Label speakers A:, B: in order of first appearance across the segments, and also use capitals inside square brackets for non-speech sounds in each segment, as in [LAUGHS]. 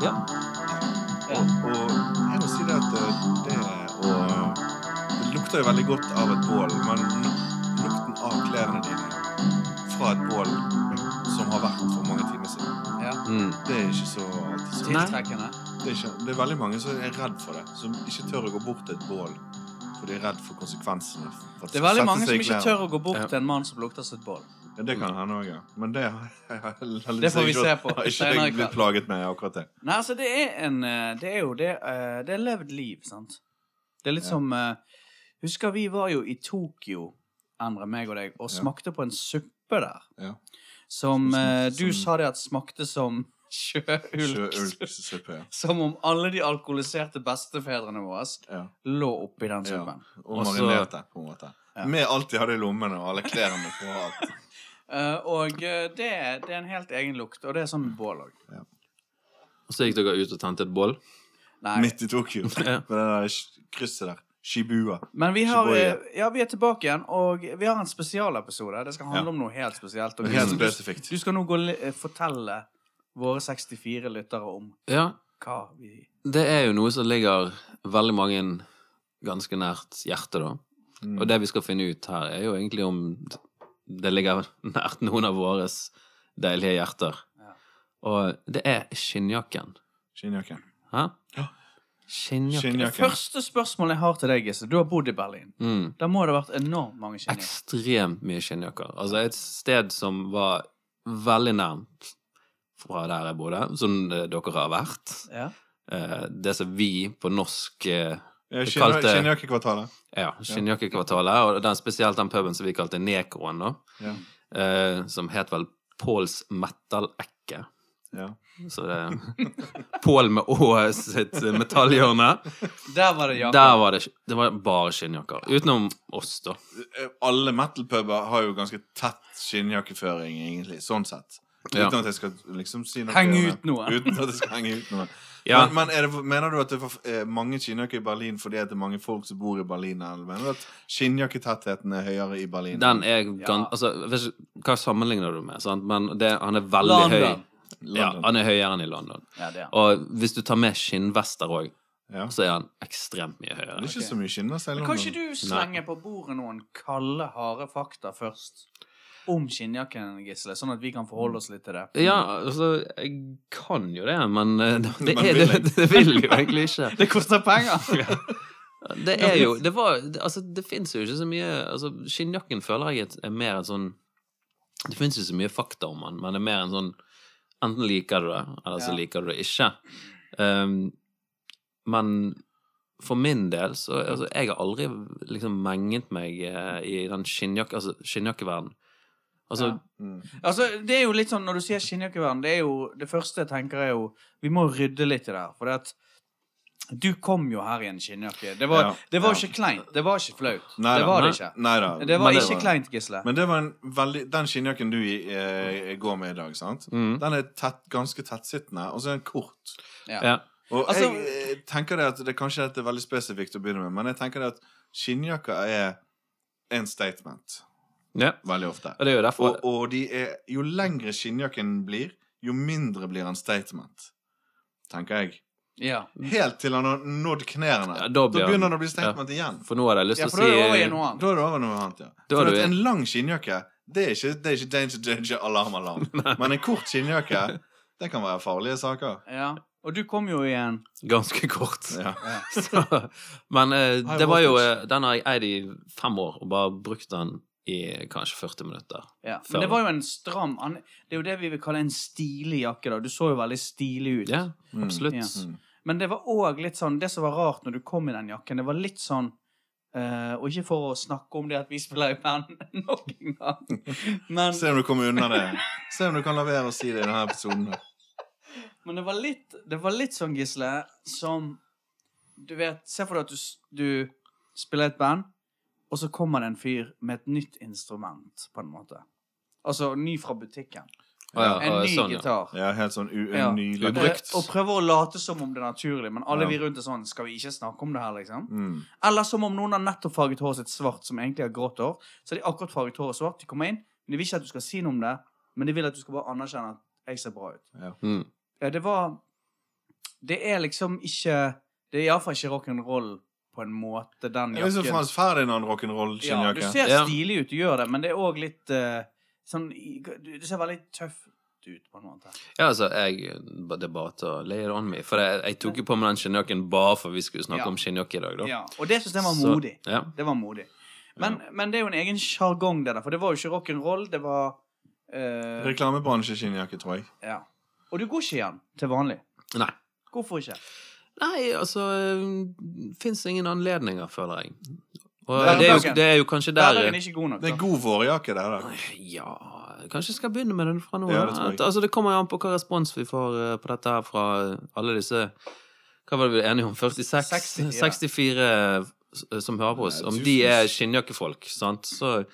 A: Ja.
B: Og, og jeg må si det at eh, det og eh, Det lukter jo veldig godt av et bål, men lukten av klærne dine fra et bål som har vært for mange timer siden,
A: ja.
C: Mm.
B: det er ikke så alltid så
A: Tiltrekkende.
B: det er, ikke, det er veldig mange som er redd for det. Som ikke tør å gå bort til et bål. For de er redd for konsekvensene. For at
A: Det er veldig
B: sette
A: mange
B: seg i
A: som ikke
B: klær.
A: tør å gå bort
C: Ja.
A: til en mann som lukter sitt bål.
B: Ja, det kan hende òg, ja. Men det, har- [LAUGHS]
A: Det får vi se på
B: har ikke
A: senere i
B: jeg blitt
A: kveld.
B: plaget med akkurat det.
A: Nei, altså, det er en eh, Det er jo det eh, Det er levd liv, sant? Det er litt
B: Ja.
A: som eh, Husker vi var jo i Tokyo, Endre, meg og deg, og
B: Ja.
A: smakte på en suppe der.
B: Ja. Som
A: Som
B: smakte
A: eh, du
B: som-
A: sa det at smakte som [LAUGHS] sjøulk.
B: Sjøulksuppe. ja.
A: Som om alle de alkoholiserte bestefedrene våre
B: Ja.
A: lå oppi den
B: Ja.
A: suppen.
B: Og
C: Også-
B: marinerte, på en måte.
A: Ja.
B: Med alt de hadde i lommene, og alle klærne på. og
C: [LAUGHS]
B: Alt.
A: Eh, og eh, det, det er en helt egen lukt, og det er sånn med bål òg.
C: Og så gikk dere ut og tente et bål.
A: Nei.
B: Midt i Tokyo. Med
C: [LAUGHS] Ja.
B: det der sh- krysset der. Shibua.
A: Men vi, har,
B: Shibuya.
A: eh, ja, vi er tilbake igjen, og vi har en spesialepisode. Det skal handle
B: Ja.
A: om noe helt spesielt. Og
B: Helt
A: du-
B: spesifikt.
A: Du skal nå gå li- eh, fortelle våre 64 lyttere om
C: Ja,
A: hva vi
C: det er jo noe som ligger veldig mange ganske nært hjertet, da.
B: Mm.
C: Og det vi skal finne ut her, er jo egentlig om det ligger nært noen av våres deilige hjerter.
A: Ja.
C: Og det er skinnjakken.
B: Skinnjakken.
C: Hæ?
B: Ja.
C: Skinnjakken.
A: Det
B: Skinnjakken.
A: første spørsmålet jeg har til deg, Gisse Du har bodd i Berlin.
C: Mm.
A: Der må det ha vært enormt mange kjenninger.
C: Ekstremt mye skinnjakker. Altså et sted som var veldig nærmt fra der jeg bodde, som eh, dere har vært.
A: Ja.
C: Eh, Det som vi på norsk eh,
B: Ja,
C: Det
B: skinja-
C: kalte-
B: Skinnjakkekvartalet.
C: Ja, skinnjakkekvartalet, og den, spesielt den puben som vi kalte Nekroen, da.
B: Ja.
C: Eh, som het vel Påls Metal-ekke.
B: Ja.
C: Så det Pål med Å sitt metallhjørne.
A: Der var det
C: Der
A: Jakob.
C: var det, det var bare skinnjakker. Utenom oss, da.
B: Eh, alle metal-puber har jo ganske tett skinnjakkeføring, egentlig, sånn sett. Uten
C: Ja.
B: at jeg skal liksom si noe
A: Henge
B: om det.
A: ut noe.
B: Uten at jeg skal henge ut noe.
C: [LAUGHS] Ja,
B: Men, men er det, mener du at det er for- eh, mange skinnjakker i Berlin fordi at det er mange folk som bor i Berlin? Eller mener du at skinnjakketettheten er høyere i Berlin?
C: den er gan...
A: Ja.
C: Altså, vet ikke, hva sammenligner du med? Sant? Men det, han er veldig
A: London.
C: høy. Ja,
B: London.
C: han er høyere enn i London.
A: Ja, det er.
C: Og hvis du tar med skinnvester òg,
B: Ja.
C: så er han ekstremt mye høyere.
B: Det er ikke
A: Ok.
B: så mye skinnvester i
A: Men
B: London.
A: kan ikke du slenge på bordet noen kalde, harde fakta først? Om skinnjakken, Gisle, sånn at vi kan forholde oss litt til det.
C: Ja, altså, jeg kan jo det, men
B: [LAUGHS]
C: eh, det,
B: Mm. Men
C: er,
B: vil
C: det, [LAUGHS] det vil jo egentlig
B: [LAUGHS]
C: ikke.
A: Det koster penger!
C: Det er jo Det var det, Altså, det fins jo ikke så mye altså, Skinnjakken føler jeg er mer en sånn Det fins jo så mye fakta om den, men det er mer en sånn Enten liker du det, eller så
A: Ja.
C: liker du det ikke. Ehm, men for min del så altså, Jeg har aldri liksom menget meg eh, i den skinnjakke, altså, skinnjakkeverdenen. Altså,
A: Ja.
B: Mm.
A: Altså, det er jo litt sånn, Når du sier skinnjakkevern, det er jo det første jeg tenker er jo Vi må rydde litt i det her. For det at du kom jo her i en skinnjakke. Det var,
B: Ja,
A: det var
B: ja.
A: ikke kleint. Det var ikke flaut.
B: Nei
A: det
B: da,
A: var
C: nei.
A: det ikke.
B: Neida.
A: Det var
C: Men det
A: ikke kleint, Gisle.
B: Men det var en veldig Den skinnjakken du eh, går med i dag, sant?
C: mm,
B: Den er tett, ganske tettsittende, og så er den kort.
A: ja.
C: ja.
B: Og
A: Altså-
B: jeg eh, tenker det at det kanskje er veldig spesifikt å begynne med, men jeg tenker det at skinnjakker er en statement
C: ja.
B: veldig ofte.
C: Og det er jo derfor
B: Og, og de er, jo lengre skinnjakken blir, jo mindre blir en statement, tenker jeg.
A: Ja.
B: Helt til han har nådd knærne.
C: Mm. Ja, da
B: da,
C: blir
B: begynner
C: han-
B: han å bli statement igjen.
C: For nå hadde jeg lyst
A: ja,
C: til
A: for da er det
C: å
A: over
C: si
A: i noe
B: Da
A: annet.
B: er det over noe annet, ja.
C: Da er
B: For
C: du-
B: at en lang skinnjakke, det er ikke, det er ikke danger, danger, alarm, alarm.
A: [LAUGHS]
B: Men en kort skinnjakke, det kan være farlige saker.
A: Ja. Og du kom jo i en
C: eh, ganske kort.
B: Ja.
C: [LAUGHS] Så, men eh,
B: High
C: det var jo
B: voltage.
C: eh, Den har jeg eid i fem år, og bare brukt den i kanskje 40 minutter.
A: ja.
C: Før.
A: Men det var jo en stram han, Det er jo det vi vil kalle en stilig jakke. da Du så jo veldig stilig ut.
C: Ja,
B: Mm.
C: absolutt.
A: Ja.
B: Mm.
A: Men det var òg litt sånn Det som var rart når du kom i den jakken, det var litt sånn eh, Og ikke for å snakke om det at vi spiller i band [LAUGHS] nok en gang, men,
B: Se om du kommer unna det. Se om du kan la være å si det i denne episoden. her.
A: men det, var litt, det var litt sånn, Gisle, som Du vet, se for deg at du, s- du spiller i et band, og så kommer det en fyr med et nytt instrument, på en måte. Altså ny fra butikken.
C: Å ja,
A: En
C: å,
A: ny
C: sånn, ja.
A: gitar.
B: Ja, helt sånn u-
A: Ja.
B: nylagt.
A: Eh,
C: Ubrukt.
A: og prøver å late som om det er naturlig, men alle
B: Ja.
A: vi rundt er sånn Skal vi ikke snakke om det her, liksom?
B: Mm.
A: Eller som om noen har nettopp farget håret sitt svart, som egentlig har grått hår. Så har de akkurat farget håret svart. De kommer inn, men de vil ikke at du skal si noe om det. Men de vil at du skal bare anerkjenne at jeg ser bra ut.
C: Mm.
A: Ja, det var Det er liksom ikke Det er iallfall ikke rock'n'roll på en måte, den
B: Det er liksom
A: jakken.
B: Frans Ferdinand rock'n'roll
A: Ja, du
B: skinnjakke.
A: ser
C: Ja.
A: stilig ut, du gjør det, men det er òg litt eh, sånn i- Du du ser veldig tøff ut, på en måte.
C: Ja, altså, jeg, det er bare til å lay it on me. For jeg, jeg tok jo på meg den skinnjakken bare for vi skulle snakke
A: Ja.
C: om skinnjakke i dag, da.
A: Ja, og det syns jeg var
C: Så-
A: modig.
C: Ja.
A: Det var modig. Men, men det er jo en egen sjargong, det der. For det var jo ikke rock'n'roll, det var eh,
B: Reklamebransje skinnjakke, tror jeg.
A: ja. Og du går ikke i den til vanlig.
C: Nei.
A: Hvorfor ikke?
C: Nei, altså Fins ingen anledninger, føler jeg. Og
A: Hverdagen.
C: det er, jo, det er jo kanskje der
A: Hverdagen er ikke god nok.
B: Det er
A: da.
B: en god vårjakke, det der.
C: Ja Kanskje jeg skal begynne med den fra nå
B: Ja,
C: av.
B: det tror jeg.
C: At- altså, det kommer jo an på hva respons vi får eh, på dette her fra alle disse Hva var det vi var enige om? 46?
A: 64.
C: 64 s- eh, som hører på oss.
B: Nei,
C: Om
B: du
C: de er
B: synes-
C: skinnjakkefolk, sant, så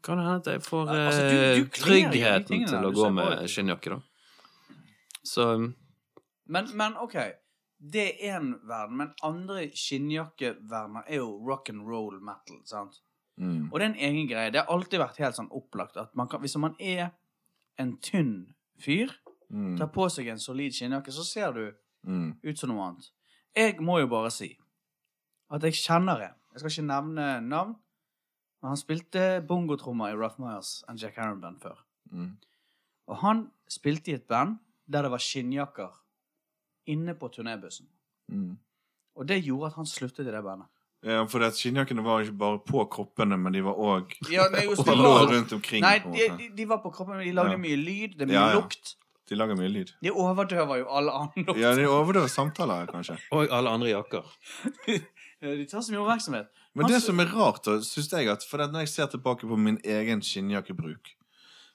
C: kan det hende at jeg får eh,
A: Altså, du- du kler jo de
C: tryggheten
A: tingene
C: til å
A: du
C: gå
A: ser på
C: med
A: deg.
C: skinnjakke, da. Så mm.
A: Men, men OK. Det er én verden, men andre skinnjakkeverdener er jo rock'n'roll metal. sant?
B: Mm.
A: Og det er en egen greie. Det har alltid vært helt sånn opplagt at man kan, hvis man er en tynn fyr,
B: Mm.
A: tar på seg en solid skinnjakke, så ser du
B: Mm.
A: ut som noe annet. Jeg må jo bare si at jeg kjenner en. Jeg skal ikke nevne navn, men han spilte bongotrommer i Rough Myers and Jack Harron Band før.
B: Mm.
A: Og han spilte i et band der det var skinnjakker inne på turnébussen.
B: Mm.
A: Og det gjorde at han sluttet i det bandet.
B: Ja, for det at skinnjakkene var ikke bare på kroppene, men de var òg
A: Ja, nei, just,
B: og lå rundt omkring.
A: nei
B: på en
A: de,
B: måte.
A: de, de var på kroppen, men de lagde
B: Ja.
A: mye lyd, det er mye
B: Ja, ja.
A: lukt.
B: De lager mye lyd.
A: De overdøver jo alle annen lukt.
B: Ja, de overdøver samtaler, kanskje.
C: Og alle andre jakker.
A: Eh, De tar så mye oppmerksomhet.
B: Men
A: Han
B: det
A: sy-
B: som er rart, da, syns jeg at For at når jeg ser tilbake på min egen skinnjakkebruk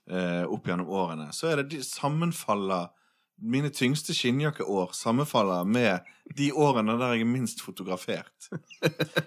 B: eh, opp gjennom årene, så er det de sammenfaller Mine tyngste skinnjakkeår sammenfaller med de årene der jeg er minst fotografert.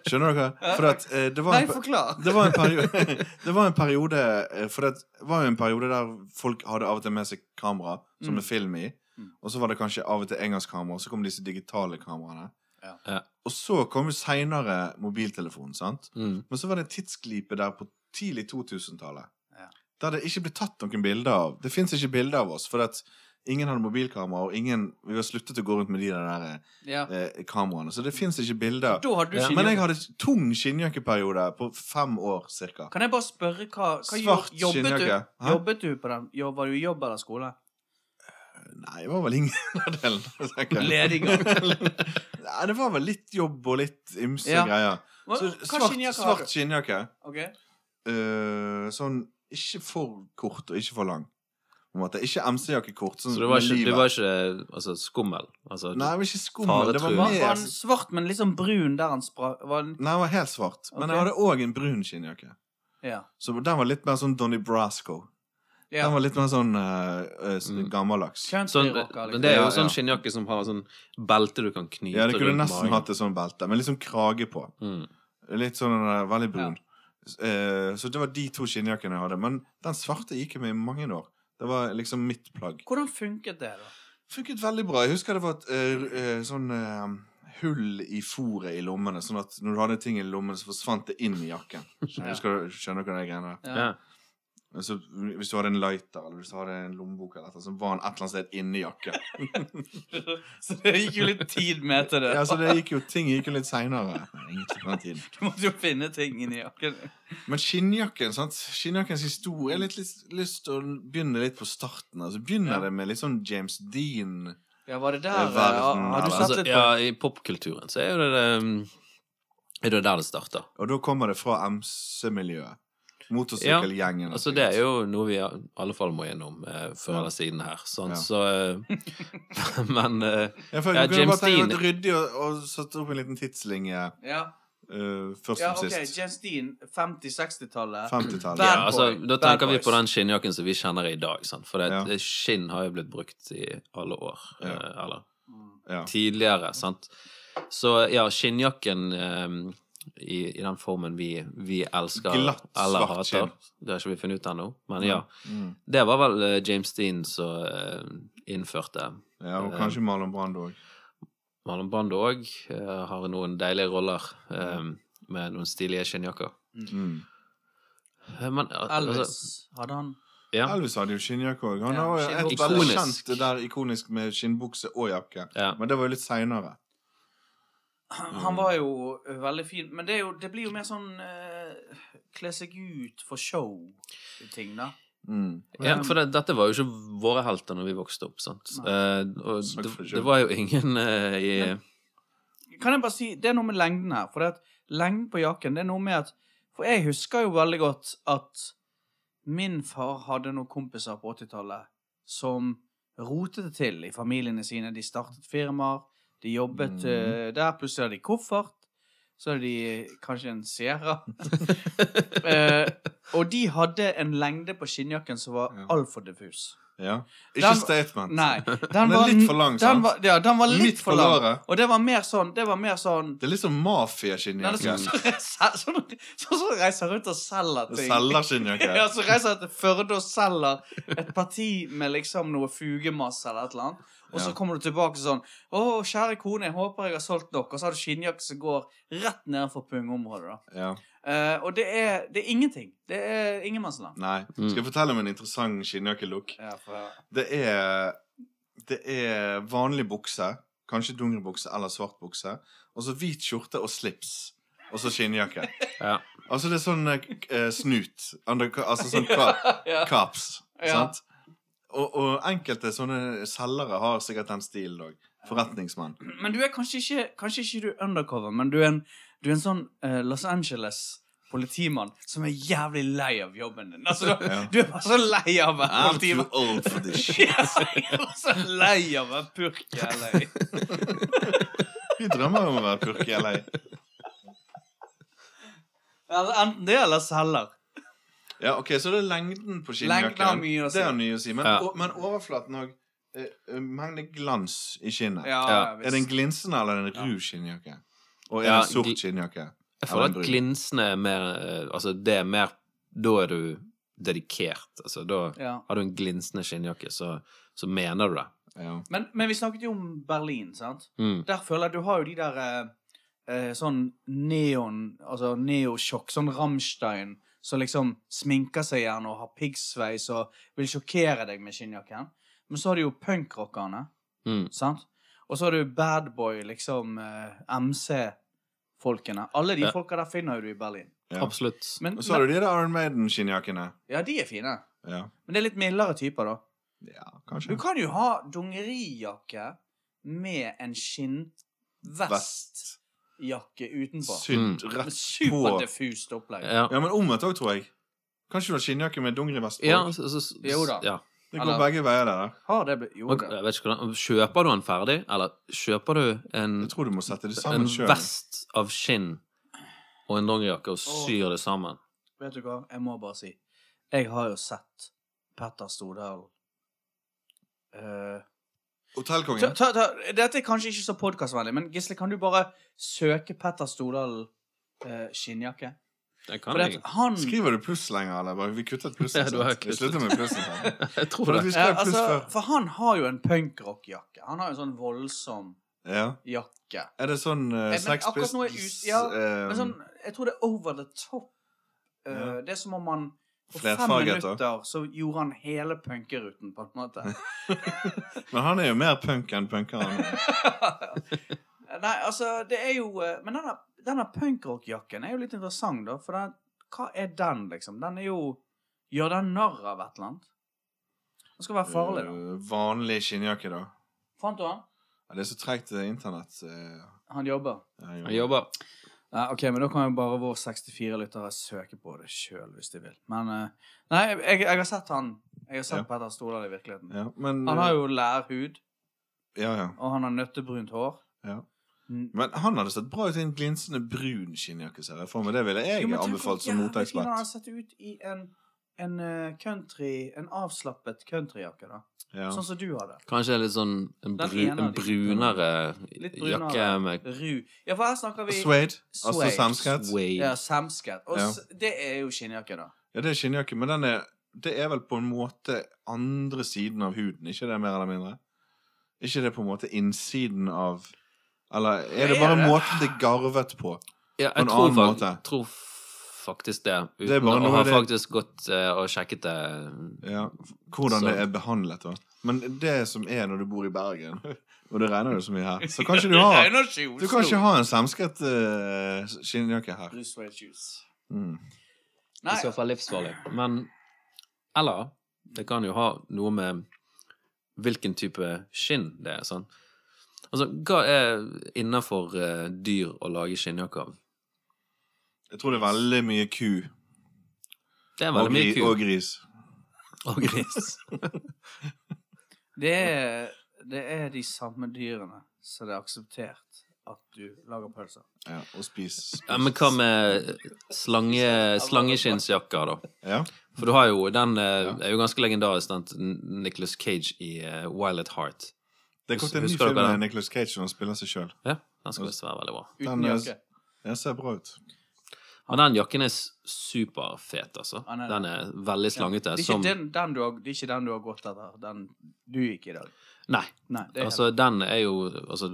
B: Skjønner dere? For at eh, det var
A: Nei,
B: en, pe-
A: forklar!
B: det var en periode, [LAUGHS] det var en periode eh, For det var jo en periode der folk hadde av og til med seg kamera som
A: Mm.
B: det er film i.
A: Mm.
B: Og så var det kanskje av og til engangskamera, og så kom disse digitale kameraene.
A: Ja.
C: Ja.
B: Og så kom jo seinere mobiltelefonen, sant?
C: Mm.
B: Men så var det en tidsglipe der på tidlig 2000-tallet.
A: Ja.
B: Der det ikke ble tatt noen bilder av. Det fins ikke bilder av oss. For at ingen hadde mobilkamera, og ingen, vi har sluttet å gå rundt med de der
A: Ja.
B: eh, eh, kameraene. Så det fins ikke bilder.
A: Da hadde du
C: Ja,
A: skinnjakke.
B: Men jeg hadde tung skinnjakkeperiode på fem år cirka.
A: Kan jeg bare spørre hva, hva
B: Svart
A: jo- jobbet,
B: skinnjakke.
A: du,
B: Hæ?
A: jobbet du på den? Jo- Var du i jobb eller skole?
B: Nei, det var vel ingen [LAUGHS] av delene. tenker jeg.
A: Lediggang.
B: Nei, det var vel litt jobb og litt ymse
A: Ja.
B: greier. Så svart, svart skinnjakke.
A: Ok.
B: Eh, sånn ikke for kort og ikke for lang. På en måte. Ikke MC-jakke kort. Sånn,
C: [LAUGHS] Så du var
B: med
C: ikke, du
B: livet.
C: var ikke altså, skummel? Altså,
B: Nei, jeg var ikke skummel. Det var,
C: Faretrue.
A: Var, var
B: mer...
A: han svart, men liksom brun der han sprakk? Var han
B: Nei, jeg var helt svart. Men
A: Ok.
B: jeg hadde òg en brun skinnjakke.
A: Ja.
B: Så den var litt mer sånn Donnie Brasco. Den
A: ja.
B: var litt mer sånn eh, eh, sånn
C: Mm.
B: gammeldags.
C: Sånn,
A: Countryrocker,
C: men det er
B: Ja,
C: jo
B: ja.
C: sånn skinnjakke som har sånn belte du kan knyte
B: Ja, det kunne
C: rundt
B: nesten
C: magen.
B: hatt et sånt belte, men liksom krage på.
C: Mm.
B: Litt sånn eh, veldig brun. Eh, så det var de to skinnjakkene jeg hadde. Men den svarte gikk jeg med i mange år. Det var liksom mitt plagg.
A: Hvordan funket det, da?
B: Funket veldig bra. Jeg husker det var et eh, eh, sånn eh, hull i fòret i lommene, sånn at når du hadde ting i lommen, så forsvant det inn i jakken.
A: Ja.
B: Skjønner, husker, du- skjønner dere de greiene der?
A: Ja.
C: Ja.
B: Så hvis du hadde en lighter eller hvis du hadde en lommebok, eller et eller annet, så var den et eller annet sted inni jakken.
A: [LAUGHS] Så det gikk jo litt tid med til det.
B: Ja, så det gikk jo, ting gikk jo litt seinere.
A: Du måtte jo finne ting inni jakken.
B: Men skinnjakken sant? Skinnjakkens historie Jeg har litt, litt lyst til å begynne litt på starten. Altså, begynner
A: Ja.
B: det med litt sånn James Dean
A: Ja, var det der?
B: Det var
A: ja,
B: verden,
A: har du
B: eller?
A: sett
C: Altså,
A: litt på
C: ja, I popkulturen så er jo det, det um, Er det der det starter.
B: Og da kommer det fra MC-miljøet. Motorsykkelgjengen.
C: Altså, det er jo noe vi i alle fall må gjennom eh, før eller siden her. Sånn,
B: Ja.
C: så eh, [LAUGHS] Men eh,
B: Ja, for
C: Ja,
B: jeg kunne
C: James
B: bare tenke
C: Dean.
B: meg ryddig og, og satt opp en liten tidslinje
A: ja.
B: eh, først
A: ja,
B: som
A: OK.
B: sist.
A: Jens Dean, 50-60-tallet.
B: 50-tallet.
C: ja,
A: Bad
C: altså,
A: boy,
C: da
A: bad
C: tenker vi
A: boys.
C: på den skinnjakken som vi kjenner i dag. Sant? For det,
B: Ja.
C: det skinn har jo blitt brukt i alle år.
B: Ja.
C: eh, eller
A: Mm.
B: Ja.
C: tidligere. Sant? Så ja, skinnjakken ehm, i, i den formen vi, vi elsker
B: Glatt,
C: eller
B: svart
C: hater.
B: skinn.
C: Det har ikke vi funnet ut ennå, men ja.
B: Mm.
C: Det var vel eh, James Dean som eh, innførte
B: ja, og
C: Eh,
B: kanskje Marlon Brando òg.
C: Marlon Brando òg. har noen deilige roller ehm, med noen stilige skinnjakker.
B: Mm.
C: Eh, Men, al- altså,
A: Elvis, hadde han
C: Ja.
B: Elvis hadde jo skinnjakke òg. Han
A: Ja,
B: var jo et
A: skinnbukse.
B: veldig
C: Ikonisk.
B: kjent der ikonisk med skinnbukse og jakke.
C: Ja.
B: Men det var jo litt seinere.
A: Han han var jo eh, veldig fin, men det, er jo, det blir jo mer sånn eh, Kle seg ut for show-ting, da.
B: Mm.
C: Ja, for det, dette var jo ikke våre helter når vi vokste opp. sant?
A: Nei.
C: Eh, og
B: Snakk
C: det,
B: for deg selv.
C: det var jo ingen eh, i
A: Kan jeg bare si, Det er noe med lengden her. For det at lengden på jakken det er noe med at For jeg husker jo veldig godt at min far hadde noen kompiser på 80-tallet som rotet det til i familiene sine. De startet firmaer, de jobbet
B: Mhm.
A: eh, der. Plutselig hadde de koffert. Så hadde de kanskje en
B: [LAUGHS]
A: Sierra. Eh, og de hadde en lengde på skinnjakken som var
B: Ja.
A: altfor diffus.
B: Ja. Ikke
A: Den-
B: statement.
A: Nei.
B: Den
A: Den
B: er
A: var,
B: litt for lang, sant?
A: den var, ja, den var litt
B: Midt på
A: for lang.
B: låret.
A: Og det var mer sånn, det var mer sånn
B: Det er litt sånn
A: Nei, det er
B: mafiaskinnjakke.
A: sånn som [LAUGHS] reiser- sånn sånn som reiser rundt og selger ting. [LAUGHS]
B: Selgerskinnjakke.
A: Ja, så reiser jeg til Førde og selger et parti med liksom noe fugemasse eller et eller annet. Og så
B: Ja.
A: kommer du tilbake sånn Å, kjære kone, jeg håper jeg har solgt nok. Og så har du skinnjakke som går rett nedenfor pungområdet, da.
B: Ja.
A: Eh, og det er, det er ingenting. Det er ingenmannsland.
B: Nei.
C: Mm.
B: Skal jeg fortelle om en interessant skinnjakkelook?
A: Ja, for-
B: Det er, det er vanlig bukse, kanskje dungelbukse eller svart bukse, og så hvit skjorte og slips, og så skinnjakke.
C: [LAUGHS] ja.
B: Altså det er sånn eh, k- eh, snut, under, altså sånn ka,
A: [LAUGHS] ja.
B: kaps,
A: Ja.
B: sant? Og, og enkelte sånne selgere har sikkert den stilen òg. Forretningsmann.
A: Men du er kanskje ikke, kanskje ikke du er undercover, men du er en, du er en sånn eh, Los Angeles Politimann som er jævlig lei av jobben din. Altså, du,
B: Ja.
A: du er bare så lei av å være
B: I'm too
A: politimann.
B: old for this shit.
A: [LAUGHS] Ja, altså, jeg er så lei av å være purk. jeg er lei.
B: Vi drømmer jo om å være purke i LA.
A: Eller Enten det eller selger.
B: Ja, ok, så det er lengden på
A: Lengden har
B: skinnjakken.
A: mye å si.
B: Det har mye å si. Men,
C: Ja.
B: o, men overflaten òg. Mengde glans i skinnet.
A: Ja,
C: Ja.
A: visst.
B: Er det en glinsende eller en ru skinnjakke? Og er
C: Ja,
B: det en sort
C: de-
B: skinnjakke?
C: Jeg
B: Eller
C: føler
B: en
C: at
B: brun.
C: glinsene er mer eh, Altså, det er mer Da er du dedikert. Altså, da
A: ja.
C: har du en glinsende skinnjakke, så, så mener du det.
B: Ja.
A: men, men vi snakket jo om Berlin, sant?
C: Mm.
A: Der føler jeg du har jo de der eh, eh, sånn neon, altså neosjokk, sånn Rammstein, som liksom sminker seg gjerne og har piggsveis og vil sjokkere deg med skinnjakken. Men så har du jo punkrockerne,
C: Mm.
A: sant? Og så har du badboy, liksom eh, MC-folkene. Alle de
C: Ja.
A: folka der finner jo du i Berlin.
B: Ja.
C: Absolutt.
A: Men,
B: Og så har du de der Iron Maiden-skinnjakkene.
A: Ja, de er fine.
B: Ja.
A: Men det er litt mildere typer, da.
B: ja,
A: Du
B: kanskje.
A: kan jo ha dongerijakke med en skinnvestjakke utenpå.
B: Sydd
A: Med
B: rett på
A: Superdiffust opplegg.
C: Ja.
B: Ja, men omvendt òg, tror jeg. Kanskje du har skinnjakke med dungerivest på?
C: ja, altså, så, så, så,
A: Jo da.
C: Ja.
B: det går
A: eller-
B: begge veier der. da.
A: Har det blitt Jo,
C: Og,
A: det.
C: jeg vet ikke hvordan Kjøper du den ferdig, eller kjøper du en,
B: Jeg tror du må sette det sammen
C: en
B: sjøl.
C: vest av skinn og en dongerijakke og syr det sammen?
A: Vet du hva, jeg må bare si Jeg har jo sett Petter Stordalen. Eh, ta,
B: Hotellkongen.
A: ta, ta, dette er kanskje ikke så podkastvennlig, men Gisle, kan du bare søke Petter Stordalen eh, skinnjakke?
C: Det
A: For
C: kan
A: det
C: jeg. [LAUGHS]
A: at han
B: Skriver du pluss lenger, eller? bare- Vi kuttet plussen.
C: Ja, du har
B: sant? Vi
C: kuttet.
B: slutter med plussen.
C: [LAUGHS]
B: sant?
C: Jeg tror
B: For at
C: det.
B: vi
A: ja,
B: skrev pluss
A: altså,
B: før.
A: For han har jo en punkrockjakke. Han har jo en sånn voldsom
B: Ja.
A: jakke.
B: Er det sånn uh,
A: Eh, men
B: Sex
A: akkurat nå er
B: Pistols
A: ut- ja,
B: eh,
A: Men sånn, jeg tror det er over the top. Eh,
B: Ja.
A: Det er som om man på fem
B: Flerfarget, da.
A: minutter så gjorde han hele punkeruten, på en
B: [LAUGHS]
A: måte.
B: Men han er jo mer punk enn
A: [LAUGHS]
B: punkeren.
A: Nei, altså, det er jo eh, Men denne, denne punkrockjakken er jo litt interessant, da. For den, hva er den, liksom? Den er jo Gjør den narr av et eller annet? Den skal være farlig, da.
B: Eh, vanlig skinnjakke, da.
A: Fant du han?
B: Ja, det er så treigt eh, internett. eh,
A: Han jobber.
B: jeg
C: Jeg jobber.
A: Nei, ok, men da kan jo bare vår 64-lyttere søke på det sjøl, hvis de vil. Men eh, Nei, jeg, jeg har sett han. Jeg har sett
B: Ja.
A: Petter Stordal i virkeligheten.
B: Ja, men, eh,
A: Han har jo lærhud,
B: ja, ja,
A: og han har nøttebrunt hår.
B: ja.
A: Mm.
B: Men han hadde sett bra ut i en glinsende brun skinnjakke, ser jeg for meg. Det ville jeg
A: Jo, men tenk
B: anbefalt
A: hvor
B: som
A: jævlig fin Han har
B: moteekspert.
A: sett ut i en, en eh, country En avslappet countryjakke, da.
B: Ja.
A: Sånn som du hadde.
C: Kanskje en litt sånn en,
A: Den
C: bru,
A: ene
C: en
A: av de-
C: brunere
A: Litt brunere.
C: jakke med
A: Ru. Ja, for her snakker vi
B: Suede. Altså
A: Suede.
B: samskatt.
A: Ja,
C: suede.
A: samskat. Og
B: Ja.
A: s- det er jo skinnjakke, da.
B: Ja, det er skinnjakke, men den er det er vel på en måte andre siden av huden, ikke det mer eller mindre? Ikke det på en måte innsiden av Eller er det
A: Er
B: bare
A: det?
B: måten det er garvet på?
C: Ja,
B: på en
C: jeg tror,
B: annen
C: fak-
B: måte.
C: tror faktisk det. Uten
B: Det er bare
C: å
B: noe
C: ha
B: av det-
C: faktisk gått eh, og sjekket det.
B: Ja, hvordan
C: Så-
B: det er behandlet. Da. Men det som er når du bor i Bergen, [LAUGHS] og det regner jo så mye her
C: [LAUGHS]
B: Så kan ikke du ha,
A: Det regner ikke i Oslo.
B: du kan ikke ha en samsket eh, skinnjakke her.
A: Blue suede shoes.
B: Mm.
A: Nei.
C: I så fall livsfarlig. Men Eller det kan jo ha noe med hvilken type skinn det er. sånn. Altså, hva er innafor dyr å lage skinnjakke av?
B: Jeg tror det er veldig mye ku
C: Det er
B: og,
C: veldig mye
B: gri, og
C: ku.
B: gris.
C: [LAUGHS] Og gris.
A: Det er, det er de samme dyrene som det er akseptert at du lager pølser.
B: Ja, og spis. spis.
C: Ja, men hva med slange, slangeskinnsjakker, da?
B: Ja.
C: For du har jo den eh, er jo ganske legendarisk, den Nicholas Cage i eh, Wild at Heart.
B: Det er kommet en ny
C: Husker dere
B: film med
C: den?
B: Nicolas Cage når han spiller seg sjøl.
C: Ja, den skal visst være veldig bra.
A: Uten
B: Den er-
A: jakke.
B: Den ser bra ut.
C: Men den jakken er s- superfet, altså.
A: Ja, den er-
C: Den er veldig slangete.
A: Det er, ikke
C: Som
A: den, den du har, det er ikke den du har gått etter. Den du gikk i dag.
C: Nei.
A: Nei, det er
C: Altså, den er jo Altså,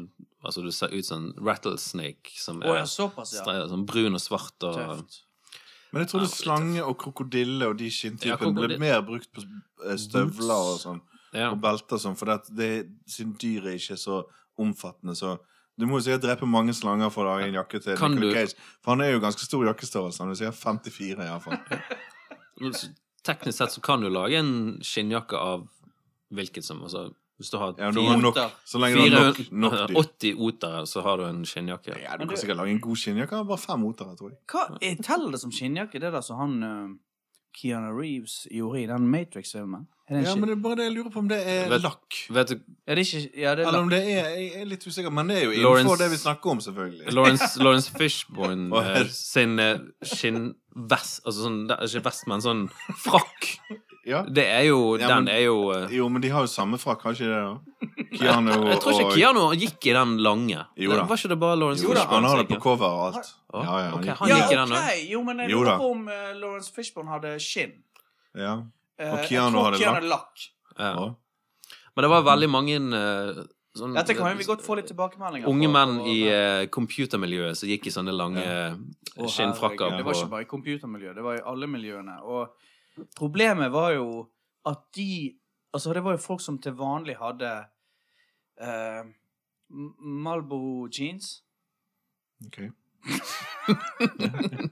C: altså du ser ut som en rattlesnake som
A: Å
C: er
A: ja, såpass, ja.
C: stre- sånn brun og svart og
A: Tøft.
B: Men jeg trodde
C: Ja, det er
B: slange og krokodille og de
C: Ja,
B: skinntypene ble
C: krokodille-
B: mer brukt på eh, støvler og sånn.
C: ja.
B: og belter og sånn, for det, at det, siden dyr er ikke så omfattende, så du må jo sikkert drepe mange slanger for å lage en jakke til
C: Kan
B: Nicolas
C: du-
B: Cage. For han er jo ganske stor jakkestørrelse. Han er sikkert 54
C: [LAUGHS]
B: iallfall.
C: Men så Teknisk sett så kan du lage en skinnjakke av hvilket som altså, Hvis du har
B: Ja, du
C: fire-
B: har nok, så lenge du har nok, nok
C: [LAUGHS]
B: dyr.
C: 480 otere, så har du en skinnjakke.
B: Ja, du
A: Men du-
B: kan sikkert lage en god skinnjakke av bare fem otere, tror jeg.
A: Hva jeg teller det som skinnjakke, det der som han eh, Keanu Reeves gjorde i den Matrix-filmen? Er det en
B: Ja,
A: skinn-
B: men det er bare det jeg lurer på om det er
C: Vet-
B: lakk.
C: Vet du,
A: Ja, det er ikke Ja, det er
B: Eller
A: lagt.
B: om det er Jeg er litt usikker, men det er jo
C: Lawrence-
B: innenfor det vi snakker om, selvfølgelig.
C: Lawrence, Lawrence Fishburne
B: Å,
C: eh,
B: herre.
C: sin eh, skinnvest Altså sånn, det er ikke vest, men sånn frakk.
B: Ja.
C: Det er jo
B: Ja, men-
C: Den er jo eh,
B: Jo, men de har jo samme frakk, har ikke det? da? Keanu og
C: Jeg tror ikke Keanu gikk i den lange.
B: Jo da.
C: Var ikke det bare Lawrence
B: Jo da, han
C: Fishburne?
B: har
C: som
B: det på
C: gikk?
B: cover og alt.
C: Å,
B: Ja, ja.
C: ok,
B: han
C: han
B: gikk-
C: gikk i
A: Ja,
C: den
A: ok!
C: òg.
A: Jo, men jeg
B: Jo
A: lurer
B: da.
A: på om eh, Lawrence Fishburne hadde skinn.
B: ja.
A: Eh,
B: Og
A: jeg
B: Keanu
A: tror
B: hadde
A: Keanu lakk.
C: Ja.
B: ja.
C: Men det var veldig mange eh, sånn,
A: Dette kan vi godt få litt tilbakemeldinger
C: Unge
A: på-
C: menn
A: på-
C: i eh, computermiljøet som gikk i sånne lange
A: Å,
C: eh, skinnfrakker.
A: herregud, Det var
C: på-
A: ikke bare i computermiljøet, det var i alle miljøene. Og problemet var jo at de Altså, det var jo folk som til vanlig hadde eh, M- Marlboro jeans.
B: Ok.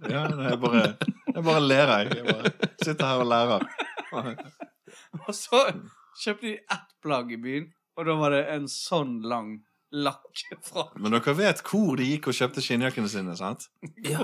B: ja, nei, jeg bare, jeg bare ler, jeg. jeg bare sitter her og lærer.
A: [LAUGHS] Og så kjøpte de ett plagg i byen, og da var det en sånn lang lakk fra
B: Men dere vet hvor de gikk og kjøpte skinnjakkene sine, sant?
C: Ja,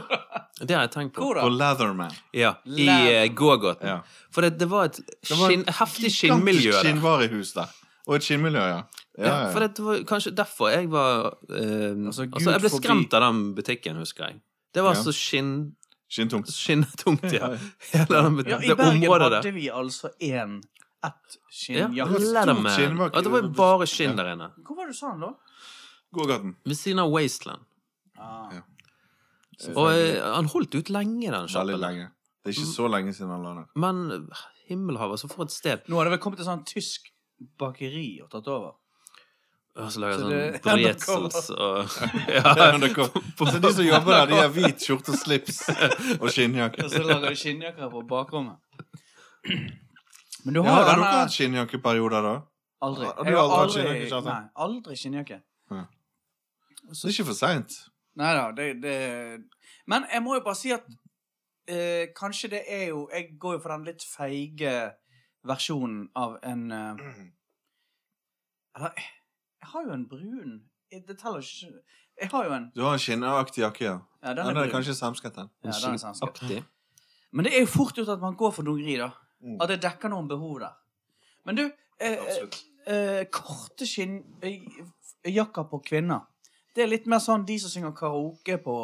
C: det har jeg tenkt på.
A: Hvor da?
B: På Leatherman.
C: Ja, I
A: Læ-
C: eh, gågaten.
B: Ja.
C: For det, det var et
B: var
C: skinn, heftig skinnmiljø
B: Gigantisk
C: der.
B: skinnvarehus der. Og et skinnmiljø, ja.
C: Ja,
B: ja,
C: for
B: ja.
C: det var kanskje derfor jeg var eh,
A: Altså,
C: altså,
A: Gud
C: Jeg ble
A: forbi.
C: skremt av den butikken, husker jeg. Det var
B: Ja.
C: så skinn,
B: Skinntungt.
C: skinntungt, ja. [LAUGHS] Hele den,
A: Ja, i
C: det
A: Bergen
C: området
A: hadde
C: der.
A: vi altså én ett
C: Ja,
A: skinnjakke.
B: var-
C: Leatherman.
B: stort skinnmarked.
C: Ja, det var jo bare skinn der inne.
A: Hvor var det du sa den, da?
B: Gågaten.
C: Ved siden av Wasteland.
A: Ah.
B: Ja.
C: Og eh, han holdt ut lenge, den
B: Veldig
C: sjappen.
B: lenge. Det er
C: Mm.
B: ikke så lenge siden han la ned.
C: Men eh, himmelhavet, så for et sted.
A: Nå har det vel kommet et sånn tysk bakeri og tatt over.
C: Og så lager
A: Så
C: jeg
A: det- [LAUGHS]
C: sånn bretzels og
B: Det er
C: [LAUGHS] ja,
B: [LAUGHS] undercover. Så Altså, de som jobber der, de har hvit skjorte og slips og skinnjakke.
A: Og så lager de skinnjakker på bakrommet. [CLEARS THROAT] Men du
B: Ja,
A: har
B: har
A: jo
B: dere
A: denne
B: hatt skinnjakkeperioder da?
A: Aldri.
B: Har du
A: Jeg har
B: aldri hatt
A: aldri,
B: skinnjakke, Kjartan?
A: nei, aldri skinnjakke.
B: Så det er ikke for seint.
A: Nei da, det, det Men jeg må jo bare si at eh, kanskje det er jo Jeg går jo for den litt feige versjonen av en eh, Eller Jeg har jo en brun Det teller ikke Jeg har jo en
B: Du har en skinnaktig jakke, ja.
A: Ja, den
B: Den
A: er,
B: er
A: brun.
B: kanskje samsket, den.
A: Ja, den er sannsynlig.
C: skinnaktig.
A: Men det er jo fort gjort at man går for dongeri, da.
B: Mm.
A: At det dekker noen behov der. Men du eh, eh,
B: Absolutt.
A: eh, Korte skinnjakker på kvinner. Det er litt mer sånn de som synger karaoke på,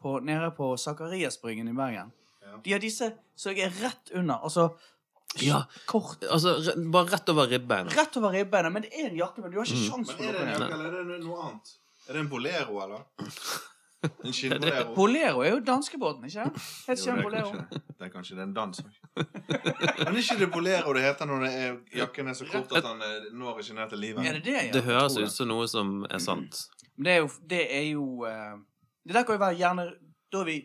A: på, nede på Sakariasbryggen i Bergen.
B: Ja.
A: De har disse som jeg er rett under. Altså
C: Ja.
A: kort.
C: Altså re- bare rett over ribbeina.
A: Rett over ribbeina, men det er en jakke. Men du har ikke
C: Mm.
A: sjans
B: Men
A: til å
B: er det
A: gå
B: en
A: ned.
B: jakke, eller er det noe annet? Er det en bolero, eller?
A: [LAUGHS]
B: En
C: skinnbolero?
B: skinnbolero?
A: Bolero er jo danskebåten, ikke sant? Heter ikke den bolero?
B: Det er kanskje det er en dans òg. Men er ikke det bolero det heter når det er jakken er så kort at han eh, når ikke ned til
A: Er det
B: livet?
A: det, ja?
C: Det høres
B: tror
C: ut som noe som er sant.
A: Men det er jo Det, er jo, eh, det der kan jo være gjerne Da er vi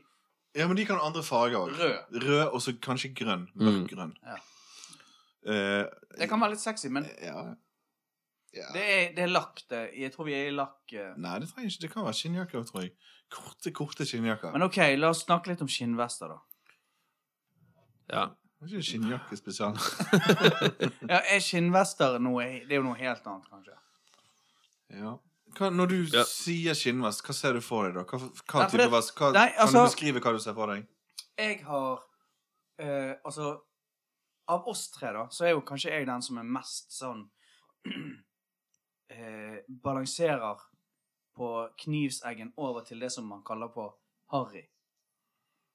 B: Ja, men de kan ha andre farger òg.
A: Rød.
B: Rød og så kanskje grønn. Mørkgrønn.
A: Mm. Ja.
B: Eh,
A: Det kan være litt sexy, men
B: ja. ja.
A: det er, det er lakk, det. Jeg tror vi er i lakk. eh.
B: Nei, det trenger ikke. Det kan være skinnjakker òg, tror jeg. Korte, korte skinnjakker.
A: Men OK, la oss snakke litt om skinnvester, [LAUGHS] da.
C: Ja.
B: Det er ikke skinnjakke spesial.
A: Ja, er skinnvester noe Det er jo noe helt annet, kanskje.
B: ja. Hva, når du
C: Ja.
B: sier skinnvest, hva ser du for deg da? Hva, hva
A: Nei, for
B: type
A: det-
B: vest? Hva,
A: nei,
B: kan
A: altså-
B: du beskrive hva du ser for deg?
A: Jeg har eh, Altså, av oss tre, da, så er jo kanskje jeg den som er mest sånn [CLEARS THROAT] eh, Balanserer på knivseggen over til det som man kaller på harry.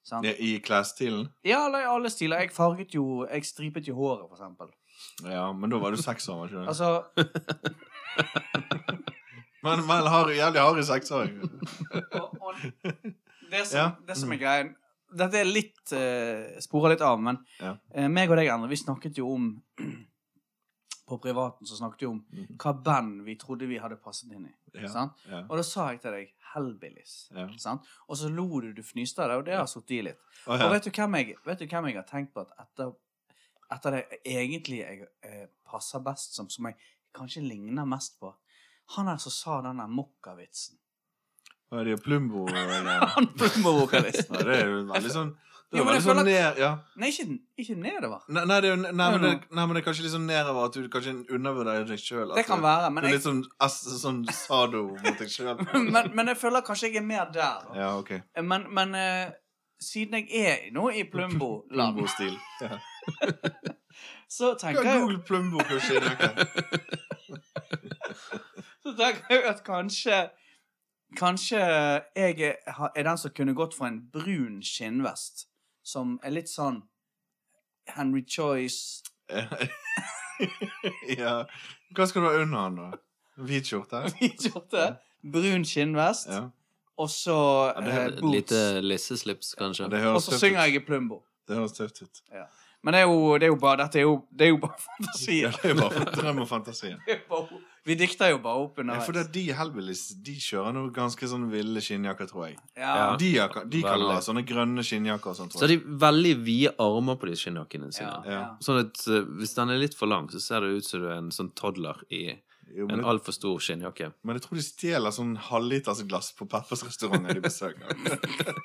A: Sant?
B: Ja, I klesstilen?
A: Ja, eller i alle stiler. Jeg farget jo Jeg stripet jo håret, for eksempel.
B: Ja, men da var du seks år, var ikke du?
A: Altså,
B: men men har, jævlig harry
A: [LAUGHS]
B: seksåring.
A: og,
B: [LAUGHS]
A: og det, som,
B: Ja. Mm.
A: det som er greien Dette er litt eh, sporer litt av, men
B: Ja.
A: eh, meg og deg, Endre, vi snakket jo om [CLEARS THROAT] På privaten så snakket vi om
B: Mhm.
A: hva band vi trodde vi hadde passet inn i.
B: Ja,
A: Sant?
B: ja,
A: Og da sa jeg til deg Hellbillies.
B: ja.
A: Sant? Og så lo du, du fnyste av det, og det har sittet i litt.
B: Å,
A: Og
B: ja.
A: vet du hvem jeg, vet du hvem jeg har tenkt på at etter, etter det egentlig jeg eh, passer best som, som jeg kanskje ligner mest på? Han her som sa den der mokkavitsen. [LAUGHS]
B: Å, ja, de er Plumbo eller
A: Han Plumbo-vokalisten.
B: Ja, det er jo veldig sånn Det er
A: Jo, men
B: veldig
A: jeg
B: sånn
A: føler
B: ned Ja.
A: Nei, ikke, ikke nedover.
B: Nei, nei, det er jo, nei,
A: Nei,
B: men det,
A: nei.
B: nei, men det er kanskje litt sånn nedover at du kanskje undervurderer deg sjøl.
A: Det kan være,
B: Du
A: men
B: er
A: jeg, Mm.
B: litt sånn, ass, sånn sado mot deg
A: [LAUGHS]
B: sjøl.
A: men, men jeg føler kanskje jeg er mer der. Da.
B: Ja, OK.
A: Men, men eh, siden jeg er nå i Plumbo-land,
B: Plumbo-stil. Ja.
A: så tenker jeg
B: Google Plumbo, kanskje. i
A: [LAUGHS]
B: nakken.
A: Så tenker jeg at kanskje Kanskje jeg er er den som kunne gått for en brun skinnvest, som er litt sånn Henry
B: [LAUGHS]
A: Choice
B: ja. Hva skal du ha under han, da? Hvit skjorte?
A: skjorte. [LAUGHS] Brun skinnvest,
B: Ja.
A: og så
B: Ja, det
A: eh,
B: er
C: Et
A: boots.
C: lite lisseslips, kanskje.
B: Det
A: Og
B: høres
A: så
B: tøft ut.
A: synger jeg i Plumbo.
B: Det høres tøft ut.
A: Men det er jo, det er jo bare Dette er jo, det er jo bare [LAUGHS] fantasi.
B: Ja, det er jo bare for drøm og
A: [LAUGHS]
B: fantasi.
A: Det er jo bare- Vi dikter jo bare opp
B: Ja, for det
A: underveis.
B: er de Hellbillies de kjører noe ganske sånn ville skinnjakker, tror jeg.
A: Ja.
C: Ja.
B: De, jakka- de kan
C: Veldig.
B: ha sånne grønne skinnjakker og sånt.
C: Så har
B: tror jeg.
C: de veldig vide armer på de skinnjakkene sine.
A: Ja,
B: Ja.
A: ja.
C: Sånn at eh, Hvis den er litt for lang, så ser det ut som du er en sånn toddler i
B: Jo, men
C: en
B: det-
C: altfor stor skinnjakke.
B: Men jeg tror de stjeler sånn halvliters glass på Peppers restauranter de
A: [LAUGHS]
B: besøker.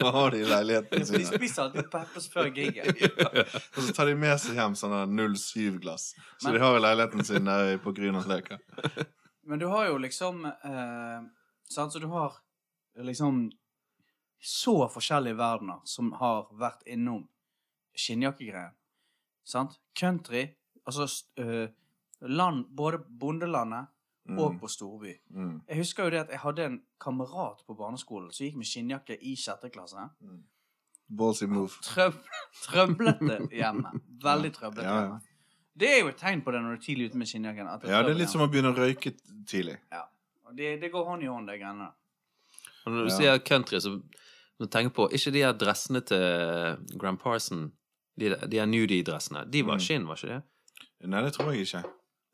B: Hva har de i leilighetene
A: De
B: sine?
A: spiser alltid peppers før
B: [LAUGHS]
A: giget.
B: Og så tar de med seg hjem sånne 07-glass. Så
A: Men-
B: de har i leiligheten sin der på Grünerløkka.
A: Men du har jo liksom eh, sant? Så du har liksom så forskjellige verdener som har vært innom skinnjakkegreien. Sant? Country, altså st- eh, land, både bondelandet
B: Mm,
A: og på storby.
B: mm,
A: Jeg husker jo det at jeg hadde en kamerat på barneskolen som gikk med skinnjakke i sjette klasse.
B: mm. Ballsy move.
A: Trøb trøblete hjemme. Veldig trøblete
B: Ja, ja.
A: hjemme. Det er jo et tegn på det når du er tidlig ute med skinnjakken. at
B: Ja, det er
A: trøbbel
B: litt som å begynne å røyke tidlig.
A: hjemme. Og Det, det går hånd i hånd, de greiene der.
C: Og når du
B: Ja.
C: sier country, så må du tenke på Ikke de her dressene til Gram Parson, de, der- de her nudie-dressene. De var
B: Mm.
C: skinn, var ikke det?
B: Nei, det tror jeg ikke.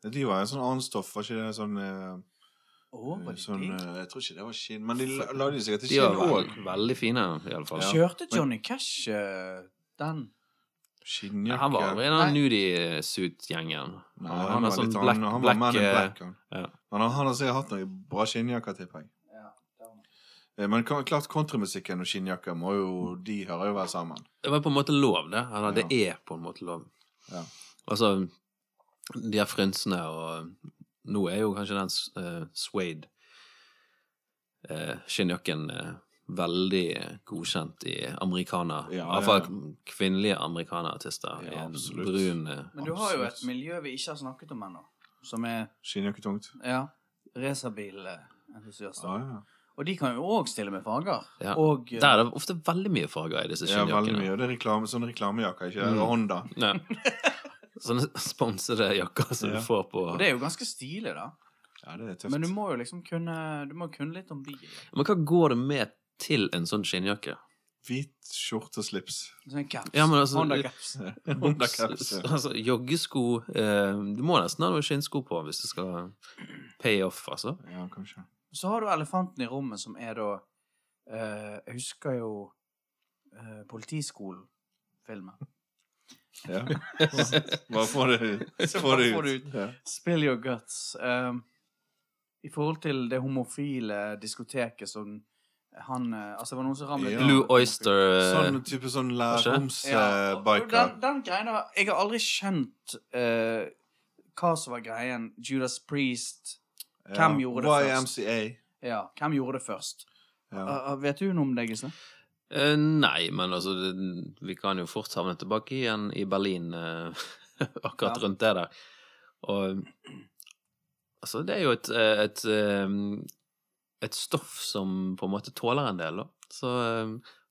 B: De var en sånn annen stoff, var ikke det sånn, eh,
A: Å, var det
B: sånn
A: det?
B: eh, Jeg tror ikke det var skinn, men de la- lagde de sikkert til
C: De var
B: skinn òg.
C: veldig, veldig fine, iallfall.
B: Ja.
C: Ja.
A: Kjørte Johnny Cash eh, den?
C: Han var
B: Skinnjakke.
C: i den nudie-suit-gjengen.
B: Nei,
C: Han,
B: han,
C: har
B: var
C: sånn
B: litt
C: black,
B: annen. han var
C: black,
B: man in
C: eh,
B: black. Han.
C: ja.
B: Men han, han har sikkert hatt noen bra skinnjakker, tipper jeg. Eh, Men kan- klart countrymusikken og skinnjakker må jo, de hører jo vel sammen.
C: Det var på en måte lov, det. Eller det er på en måte lov.
B: Ja.
C: Altså, de her frynsene og Nå er jo kanskje den uh, suede eh, skinnjakken eh, veldig godkjent i amerikaner.
B: Ja, ja,
C: Iallfall
B: ja.
C: kvinnelige
B: Ja,
C: amerikanerartister. I en
B: absolutt.
C: brun eh,
A: Men du har jo et
B: Absolutt.
A: miljø vi ikke har snakket om ennå, som er
B: Skinnjakke tungt. Ah,
A: ja, racerbilentusiaster.
B: Ja, ja.
A: Og de kan jo òg stille med farger.
C: Ja.
A: Og eh,
C: Der er det ofte veldig mye farger i disse
B: ja veldig
C: skinnjakkene.
B: mye. Og det er reklame, sånne reklamejakker, ikke
C: Mm.
B: det? Honda.
C: Ja. Sånne [LAUGHS] sponsede jakker som
B: Ja.
C: du får på
A: og det er jo ganske stilig, da.
B: Ja, det er tøft.
A: Men du må jo liksom kunne Du må kunne litt om bil.
C: Men hva går det med til en sånn skinnjakke?
B: Hvit skjorte og slips. [LAUGHS]
A: Sånn caps.
C: Ja, men altså-
A: Honda caps.
B: Honda caps. ja.
C: Altså, joggesko eh, Du må nesten ha noen skinnsko på hvis du skal pay off, altså.
B: Ja, kanskje.
A: Så har du elefanten i rommet, som er da eh, Jeg husker jo eh, politiskolen-filmen.
B: Ja. Bare få det ut.
A: Så
B: Få
A: bare
B: det
A: få det
B: ut. Ja.
A: Spill your guts. Eh, I forhold til det homofile diskoteket som han eh, Altså, det var noen som ramlet
B: Ja.
A: ned.
C: Blue Oyster eh,
B: Sånn type sånn
C: Kanskje?
B: eh,
A: Ja, og- og
B: lærdomsbiker.
A: den, den greien har- Jeg har aldri skjønt eh, hva som var greien. Judas Priest Hvem gjorde det først?
B: YMCA.
A: Ja, hvem gjorde det først?
B: Ja.
A: Eh, eh, vet du noe om det, Gisle?
C: eh, Nei, men altså det, Vi kan jo fort havne tilbake igjen i Berlin eh, [LAUGHS] akkurat
A: Ja.
C: rundt det der. Og altså, det er jo et, eh, et eh, Et stoff som på en måte tåler en del, da. Så eh,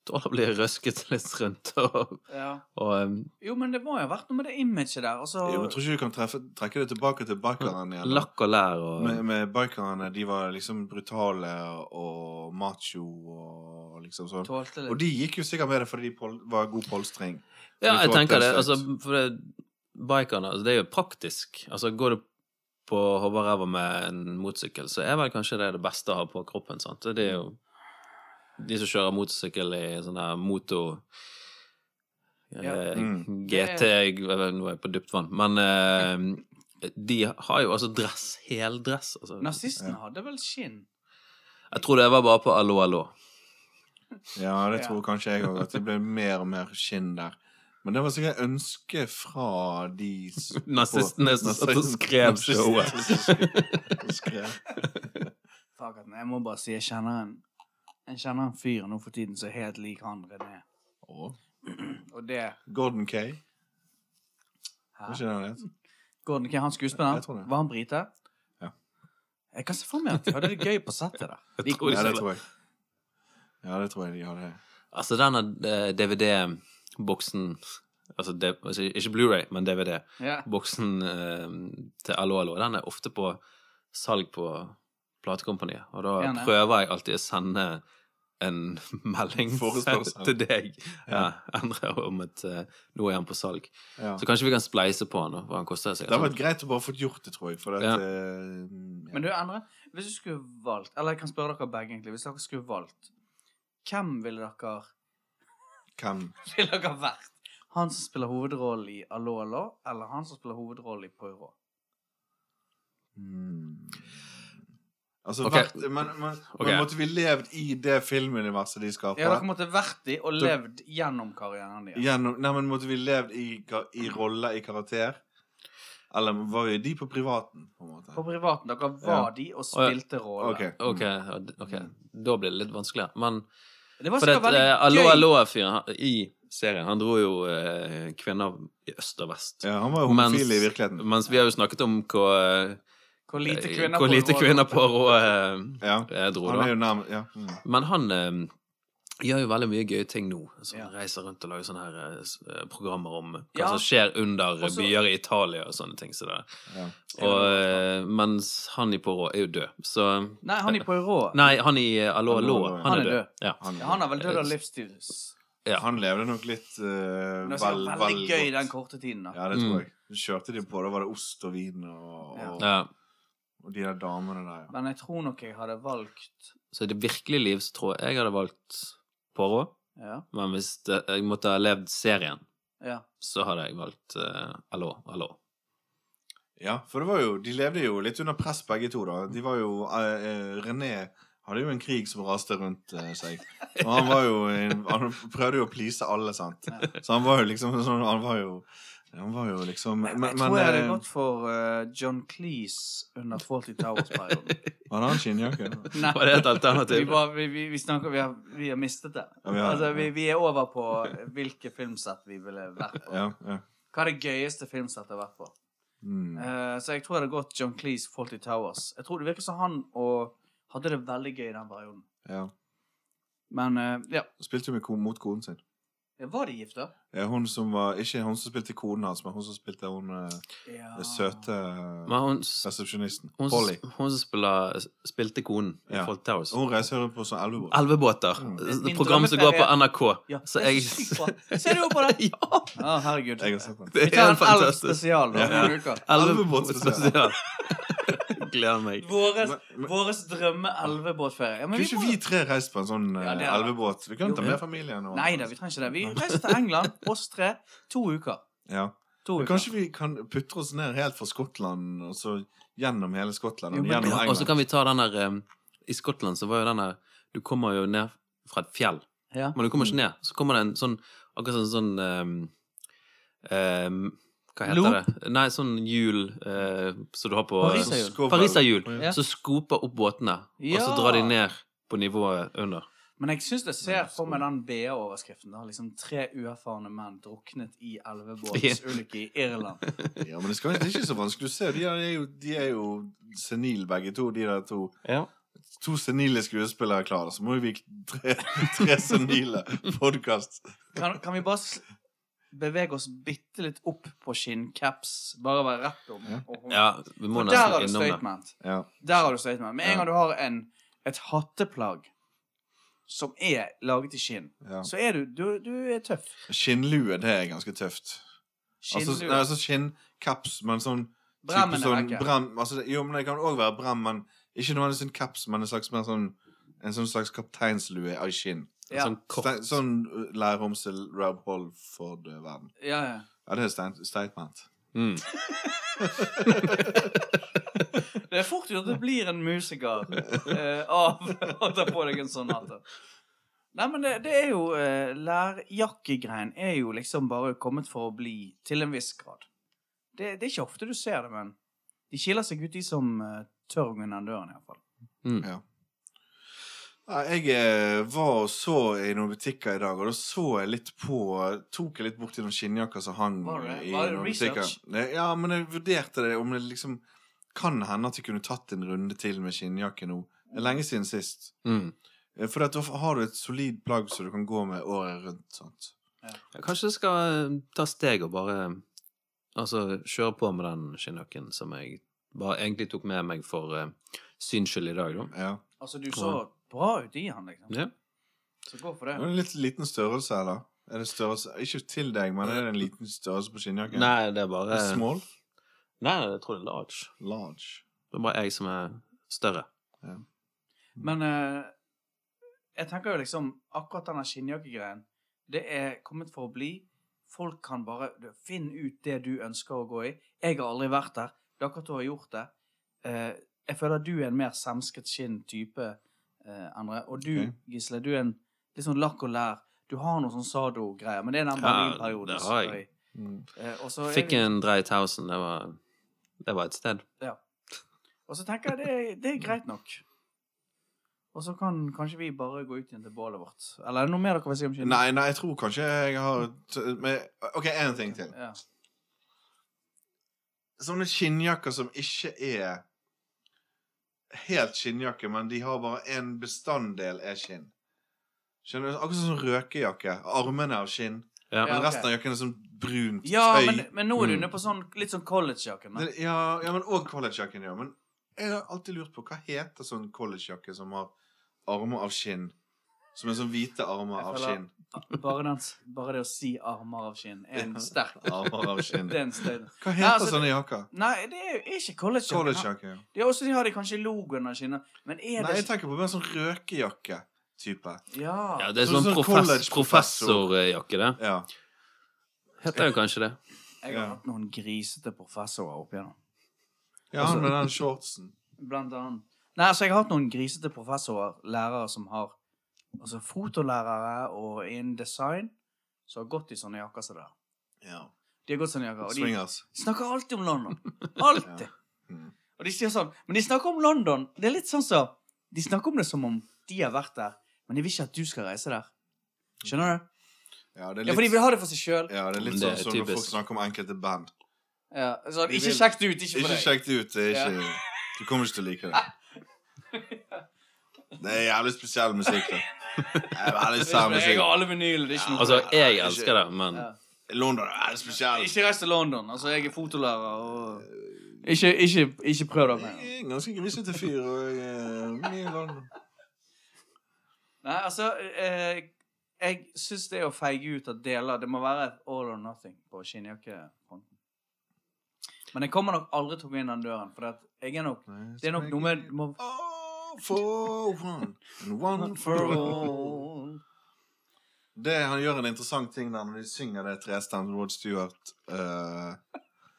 C: tåler å bli [LAUGHS] røsket litt rundt og,
A: Ja.
C: og eh,
A: Jo, men det må jo ha vært noe med det imaget der. Altså,
B: Jo, jeg tror ikke du kan treffe, trekke det tilbake til bikerne igjen. da.
C: lakk og lær og
B: Med, med bikerne, de var liksom brutale og macho og liksom sånn.
A: tålte
B: Og
A: litt.
B: de gikk jo sikkert med det fordi de pol var god polstring.
C: Ja,
B: Vi
C: jeg
B: får
C: tenker
B: teste
C: det. Altså,
B: ut.
C: for det, bikerne, altså, det er jo praktisk. Altså, går du på hoverræva med en motorsykkel, så er vel kanskje det det beste å ha på kroppen. sant? Det er jo de som kjører motorsykkel i sånn her moto
A: Ja.
C: eh,
B: Mm.
C: GT jeg- Nå er jeg på dypt vann. Men eh, de har jo altså dress. Heldress. Altså.
A: Nazistene
B: Ja.
A: hadde vel skinn?
C: Jeg tror det var bare på Allo Allo.
B: Ja, det
A: Ja.
B: tror kanskje jeg òg, at det ble mer og mer skinn der. Men det var sikkert ønske fra de s- på-
C: Nazistene som satt og
B: nazisten-
C: skrev
B: nazistene
C: showet.
B: som skrev- som skrev.
A: Fuck at Jeg må bare si jeg kjenner en Jeg kjenner en fyr nå for tiden som er helt lik han René.
B: Å,
A: Og det
B: Gordon Kay, var
A: Hæ?
B: ikke det han het?
A: Gordon Kay, han
B: Jeg tror
A: skuespilleren,
B: det.
A: var han brite?
B: Ja.
A: Jeg kan se for meg at de hadde det gøy på settet der. De
C: tror
B: Ja,
A: koser
B: det
A: seg.
B: tror [LAUGHS] jeg. Ja, det tror jeg de hadde.
C: Altså denne eh, DVD-boksen altså, de- altså ikke Blu-ray, men DVD.
A: Ja.
C: Boksen eh, til Allo Allo, den er ofte på salg på platekompaniet. Og da
A: Gjerne.
C: prøver jeg alltid å sende en [LAUGHS] melding
B: Forespørsel.
C: [LAUGHS] til deg. Ja, Endre om at eh, nå er han på salg.
B: Ja.
C: Så kanskje vi kan spleise på han, da, hva han koster.
B: Det hadde
C: sikkert. sånn.
B: vært greit å bare få gjort det, tror jeg. For at,
C: Ja.
B: eh, ja.
A: Men du, Endre, hvis du skulle valgt Eller jeg kan spørre dere begge, egentlig. Hvis dere skulle valgt, hvem ville dere [LAUGHS]
B: Hvem?
A: Ville dere vært? Han som spiller hovedrollen i Allo Allo, eller han som spiller hovedrollen i Poirot?
B: Mm. Altså,
C: Ok.
B: vært, men, men,
C: Ok.
B: men måtte vi levd i det filmuniverset de skaper?
A: Ja, dere måtte vært i og
B: Du-
A: levd gjennom karrieren deres.
B: Gjennom, nei, men måtte vi levd i, ka- i roller, i karakter? Eller var jo de på privaten, på en måte?
A: På privaten. Dere var de og spilte roller.
B: Ok.
C: Ok, ja, d- ok. Da blir det litt vanskeligere. Men
A: Det var
C: For
A: sikkert
C: at
A: veldig
C: eh, Allo
A: gøy.
C: Allo-fyren han- i serien, han dro jo eh, kvinner i øst og vest.
B: Ja, han var jo homofil
C: Mens-
B: i virkeligheten.
C: Mens vi har jo snakket om hvor eh,
A: Hvor lite
C: eh,
A: kvinner
C: hvor
A: på
C: lite
A: roller.
C: kvinner på rå eh,
B: Ja.
C: eh, dro,
B: Han er
C: da.
B: jo nærm... Ja. Mm.
C: Men han eh, gjør jo veldig mye gøye ting nå. Så han
A: Ja.
C: Reiser rundt og lager sånne her eh, s- eh, programmer om hva
A: Ja.
C: som skjer under eh,
A: Og så-
C: byer i Italia og sånne ting. Så det.
B: Ja.
C: Og, eh, mens han i Poirot er jo død, så
A: Nei, han i Poirot.
C: Nei, han i eh, Allo
B: Allo, Allo,
C: Allo,
B: ja.
C: [LAUGHS] han er død. Ja.
B: Han,
A: Ja, han har vel dødd av
C: Eh,
A: livsstils.
C: ja.
B: han levde nok litt uh,
A: Men Det var veldig gøy den korte tiden, da.
B: Ja, det tror
C: Mm.
B: jeg. Så kjørte de på. Da var det ost og vin og,
A: Ja.
B: og,
C: Ja.
B: og de der damene der. Ja.
A: Men jeg tror nok jeg hadde valgt
C: Så i det virkelige liv så tror jeg jeg hadde valgt Poirot.
A: Ja.
C: Men hvis det, jeg måtte ha levd serien,
A: ja.
C: så hadde jeg valgt eh, Allo Allo.
B: Ja, for det var jo, de levde jo litt under press begge to da. De var jo, eh, eh, René hadde jo en krig som raste rundt eh, seg. Og han var jo, en- han prøvde jo å please alle, sant? Så han var jo liksom, sånn, han var jo, han var jo liksom, men,
A: jeg
B: men
A: tror jeg hadde
B: eh,
A: gått for eh, John Cleese under 40
C: [LAUGHS]
A: Towers-perioden.
B: var det han skinnjakke?
A: Nei,
C: Var det
A: [LAUGHS]
C: et
A: vi,
C: alternativ?
A: bare, vi, vi, vi snakker Vi har, vi har mistet det.
B: Ja, vi har-
A: altså, vi, vi er over på hvilke filmsett vi ville vært på.
B: Ja, ja.
A: Hva er det gøyeste filmsettet jeg har vært på?
B: Mm.
A: Eh, så jeg tror jeg hadde gått John Cleese, 40 Towers. Jeg tror det virker som han og hadde det veldig gøy i den perioden.
B: ja.
A: Men eh, ja.
B: Spilte jo med, ko- mot konen sin.
A: Var de gifta?
B: Ja, hun som var, ikke hun som spilte konen hans, men hun som spilte hun eh,
A: Ja.
B: søte
C: Men hun,
B: resepsjonisten.
C: hun,
B: Polly.
C: hun som spiller, spilte konen i
B: Ja.
C: Fort Towers.
B: Hun reiser rundt på sånn elvebåt.
C: Elvebåter.
B: Mm.
C: Et
A: Min
C: program som går på
A: drømmeferie.
C: NRK.
A: Ja,
C: Så
A: det er
C: jeg
A: så sykt bra. Ser du på det?
C: [LAUGHS] Ja!
A: Å, herregud.
B: Jeg har sett den.
C: Det
A: Vi
C: er
A: tar
C: helt
A: en elv
C: fantastisk.
A: spesial da, om
B: Ja.
A: noen uker.
C: Elve-
B: Elvebåtspesial.
C: [LAUGHS] gleder meg.
A: Våres,
B: men-
A: våres drømme-elvebåtferie. Ja, men
B: Kunne
A: vi
B: ikke
A: må-
B: vi tre reist på en sånn
A: Ja, det
B: eh,
A: er-
B: elvebåt? Vi kunne
A: Jo,
B: ta med familien. Og...
A: Nei da, vi trenger ikke det. Vi reiser til England, oss tre, to uker.
B: Ja.
A: To uker.
B: Kanskje vi kan putre oss ned helt fra Skottland, og så gjennom hele Skottland,
A: Jo,
B: og
A: men-
B: gjennom
C: Ja,
B: England.
C: og så kan vi ta den der um, I Skottland så var jo den der Du kommer jo ned fra et fjell,
A: Ja.
C: men du kommer ikke ned. Så kommer det en sånn Akkurat sånn sånn um, um, Hva heter
A: Loop?
C: det? Nei, sånn hjul uh, som du har på
A: Pariser.
B: Så skover-
C: Pariserhjul.
A: Ja.
C: Så skoper opp båtene, og
A: Ja.
C: så drar de ned på nivået under.
A: Men jeg syns jeg ser for meg den BA-overskriften. da Liksom Tre uerfarne menn druknet i elvebåtsulykke i Irland.
B: Ja, men det, skal, det er ikke så vanskelig å se. De er jo, de er jo senile, begge to. De der to,
C: Ja.
B: to senile skuespillere er klare. Så må jo vi tre, tre senile podkast.
A: Kan, kan vi bare s- bevege oss bitte litt opp på skinncaps? Bare være rett om.
B: Ja.
A: om-
C: ja, vi må
A: For der har
C: nesten
A: du
C: innom det.
A: statement.
B: Ja.
A: Der har du statement. Med en
C: Ja.
A: gang du har en, et hatteplagg som er laget i skinn,
B: Ja.
A: så er du, du, du er tøff.
B: Skinnlue, det er ganske tøft. Altså,
A: Skinnlue.
B: nei, altså skinncaps, men sånn type
A: Bremmen er
B: sånn,
A: vekke.
B: brem, altså, det- Jo, men det kan òg være brem, men ikke nødvendigvis en caps, men en slags mer sånn en sånn slags kapteinslue av skinn.
A: Ja.
C: Sånn kort.
B: Stein, sånn uh, lærromsel Rob Holford-verden.
A: ja, ja.
B: uh, Ja, det er stein- statement.
C: Mm.
A: Det er fort gjort at det blir en musiker eh, av å ta på deg en sånn hatt. Nei, men det, det er jo eh, Lærjakkegreien er jo liksom bare kommet for å bli, til en viss grad. Det, det er ikke ofte du ser det, men de skiller seg ut, de som eh, tør å gå inn den døren, iallfall.
C: Mm.
B: Ja, jeg eh, var og så i noen butikker i dag, og da så jeg litt på Tok jeg litt bort til noen skinnjakker som hang
A: Var det-
B: i
A: var det
B: noen
A: research?
B: butikker. Ne- Ja, men jeg vurderte det om det liksom Kan hende at jeg kunne tatt en runde til med skinnjakke nå. Det er lenge siden sist.
C: Mm.
B: Eh, For at da har du et solid plagg som du kan gå med året rundt. Sant?
C: Ja, Kanskje jeg skal eh, ta steg og bare Altså kjøre på med den skinnjakken som jeg bare egentlig tok med meg for uh, syns skyld i dag, da.
B: Ja.
A: Altså, du så bra ut i han, liksom.
C: Ja.
A: Så gå for
B: Det
A: det.
B: er en litt liten størrelse, eller? Er det størrelse Ikke til deg, men er det en
A: Eh,
B: liten størrelse på skinnjakken?
C: Nei, det er bare
B: Er det Small?
C: Nei, jeg tror det er large.
B: Large.
C: Det er bare jeg som er større.
A: Men eh, jeg tenker jo liksom akkurat denne skinnjakkegreien, det er kommet for å bli. Folk kan bare du, Finn ut det du ønsker å gå i. Jeg har aldri vært der. Dere to har gjort det. Eh, jeg føler du er en mer semsket skinn-type, eh, Endre. Og du,
B: Ok.
A: Gisle, du er en litt sånn lakk og lær. Du har noe sånn sado-greier, men det er den
C: Ja,
A: Berlin-perioden.
C: det har jeg.
A: som er i.
B: Mm.
A: Eh, og så er
C: Fikk
A: vi-
C: en drei thousand. Det var, det var et sted.
A: Og så tenker jeg det, er- det er greit nok. Og så kan kanskje vi bare gå ut igjen til bålet vårt. Eller er det noe mer dere vil si om skinn?
B: Nei, nei, jeg tror kanskje jeg har t- men, OK, én ting til.
A: Ja.
B: Sånne skinnjakker som ikke er helt skinnjakke, men de har bare en bestanddel er skinn. Skjønner du? Akkurat som sånn røkejakke. Armene er av skinn.
C: Ja.
A: Ja.
B: Men
A: ok.
B: resten av jakken er sånn brunt
A: ja,
B: tøy.
A: men, men nå er du
C: Mm.
A: inne på sånn, litt sånn collegejakke. men-
B: Det- ja, ja, men òg collegejakken, ja. Men jeg har alltid lurt på hva heter sånn collegejakke som har armer av skinn? Som er sånn hvite armer
A: Jeg
B: av
A: føler-
B: skinn.
A: Bare, den, s- bare det å si 'armer av skinn' er en sterk
B: [LAUGHS] Armer av skinn.
A: [LAUGHS] Det er en stein.
B: Hva
A: Nei,
B: heter
A: altså,
B: sånne jakker?
A: Nei, det er jo ikke collegejakke.
B: Collegejakke, ja.
A: De, også- de har de kanskje logoen av skinner. Men er
B: Nei, jeg
A: det
B: tenker på mer sånn røkejakke-type.
A: Ja.
C: ja, det er
B: Sånn- sånn
C: sånn profess,
B: college-professor.
C: professorjakke, det.
B: Ja.
C: Heter jo kanskje det.
A: Jeg har
B: ja.
A: hatt noen grisete professorer opp igjennom.
B: ja,
A: Altså-
B: han med den shortsen.
A: Blant annet. Nei, altså, jeg har hatt noen grisete professorer, lærere som har Altså fotolærere og innen design, som har gått i sånne jakker som det der.
B: Ja.
A: De har gått i sånne jakker, og de
B: Swingers.
A: snakker alltid om London.
B: [LAUGHS]
A: Alltid.
B: Mm.
A: Og de sier sånn, men de snakker om London. Det er litt sånn så, De snakker om det som om de har vært der, men de vil ikke at du skal reise der. Skjønner du?
B: Ja, det er
A: Ja, For de
B: litt,
A: vil ha det for seg sjøl.
B: ja, det er litt
C: Men det
B: sånn
C: er
B: som når folk
C: typisk.
B: snakker om enkelte band.
A: Ja, sånn,
B: De
A: ikke
B: vil-
A: sjekk det ut, ikke for
B: Ikke
A: deg.
B: sjekk det ut. Det er ikke, du kommer ikke til å like det.
A: [LAUGHS]
B: Det er jævlig spesiell musikk, da. Det er veldig
A: Det er
B: sær
A: ikke- Jeg
B: musikk.
A: har alle vinyl, det er ikke noe
C: Altså,
B: Nei,
C: jeg
B: ikke-
C: elsker det, men
A: Ja.
B: London er veldig spesiell.
A: Ikke reis til London. Altså, jeg er fotolærer og Ikke, ikke, ikke prøv deg med det.
B: Jeg er en ganske grisete fyr, og jeg eh, er mye i London.
A: Nei, altså eh, Jeg syns det å feige ut av deler Det må være all or nothing på skinnjakkefronten. Men jeg kommer nok aldri til å gå inn den døren, for at jeg er nok Det er nok noe med du må,
B: All for one and one for
A: for
B: all.
A: all.
B: Det, han gjør en interessant ting der når de synger det trestemt Rod Stewart, eh,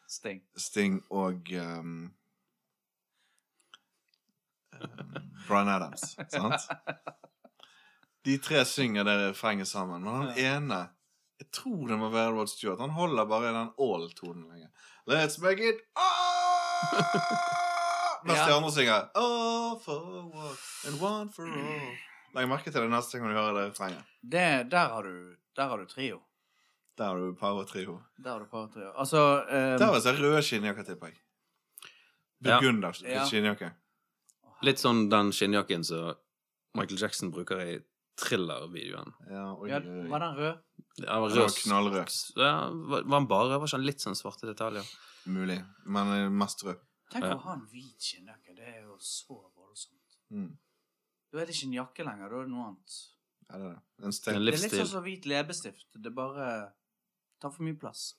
A: Sting.
B: Sting og ehm, ehm, Bryan Adams, sant? De tre synger det refrenget sammen, men han ene Jeg tror det må være Rod Stewart. Han holder bare den all-tonen lenge. Let's make it
A: [LAUGHS]
B: all! Mens de
A: Ja.
B: andre synger All for one and one for all. Legg merke til det neste gang du hører det refrenget.
A: Det, der har du Der har du trio.
B: Der har du power trio.
A: Der har du par trio. Altså ehm,
B: Der var det så røde skinnjakker, tipper jeg.
C: Ja.
B: Burgunder
A: Ja.
B: skinnjakke.
C: Litt sånn den skinnjakken som Michael Jackson bruker i thriller-videoen.
B: Ja, oi,
A: ja,
B: oi.
A: Var den rød?
C: Det var
B: Den var
C: rød-
B: knallrød.
C: Ja, var var han bare var ikke han litt sånn svarte detaljer? [LAUGHS]
B: Mulig. Men eh, mest rød.
A: Tenk
C: Ja.
A: å ha en hvit skinnjakke. Det er jo så voldsomt.
B: Mm.
A: Da er det ikke en jakke lenger. Da er det noe annet.
B: Ja, det er det. En
C: Det er
B: stil.
C: En
A: Det er litt
C: livsstil.
A: sånn som hvit leppestift. Det bare tar for mye plass.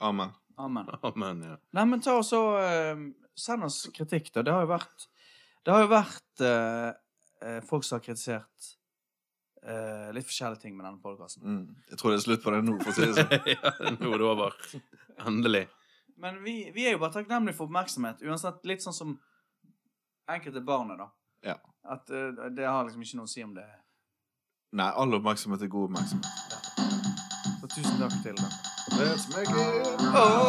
B: Amen.
A: Amen.
C: Amen, ja. [LAUGHS]
A: Nei, men ta og så eh, Send oss kritikk, da. Det har jo vært Det har jo vært eh, eh, folk som har kritisert eh, litt forskjellige ting med denne podkasten.
B: Mm. Jeg tror det er slutt på det nå, for å si det sånn.
C: ja, nå er det over. Endelig.
A: Men vi, vi er jo bare takknemlige for oppmerksomhet. Uansett litt sånn som enkelte barn er, da.
B: Ja.
A: At eh, det har liksom ikke noe å si om det.
B: Nei, all oppmerksomhet er god oppmerksomhet.
A: Så tusen takk til, da.
B: Let's make it
A: Oh,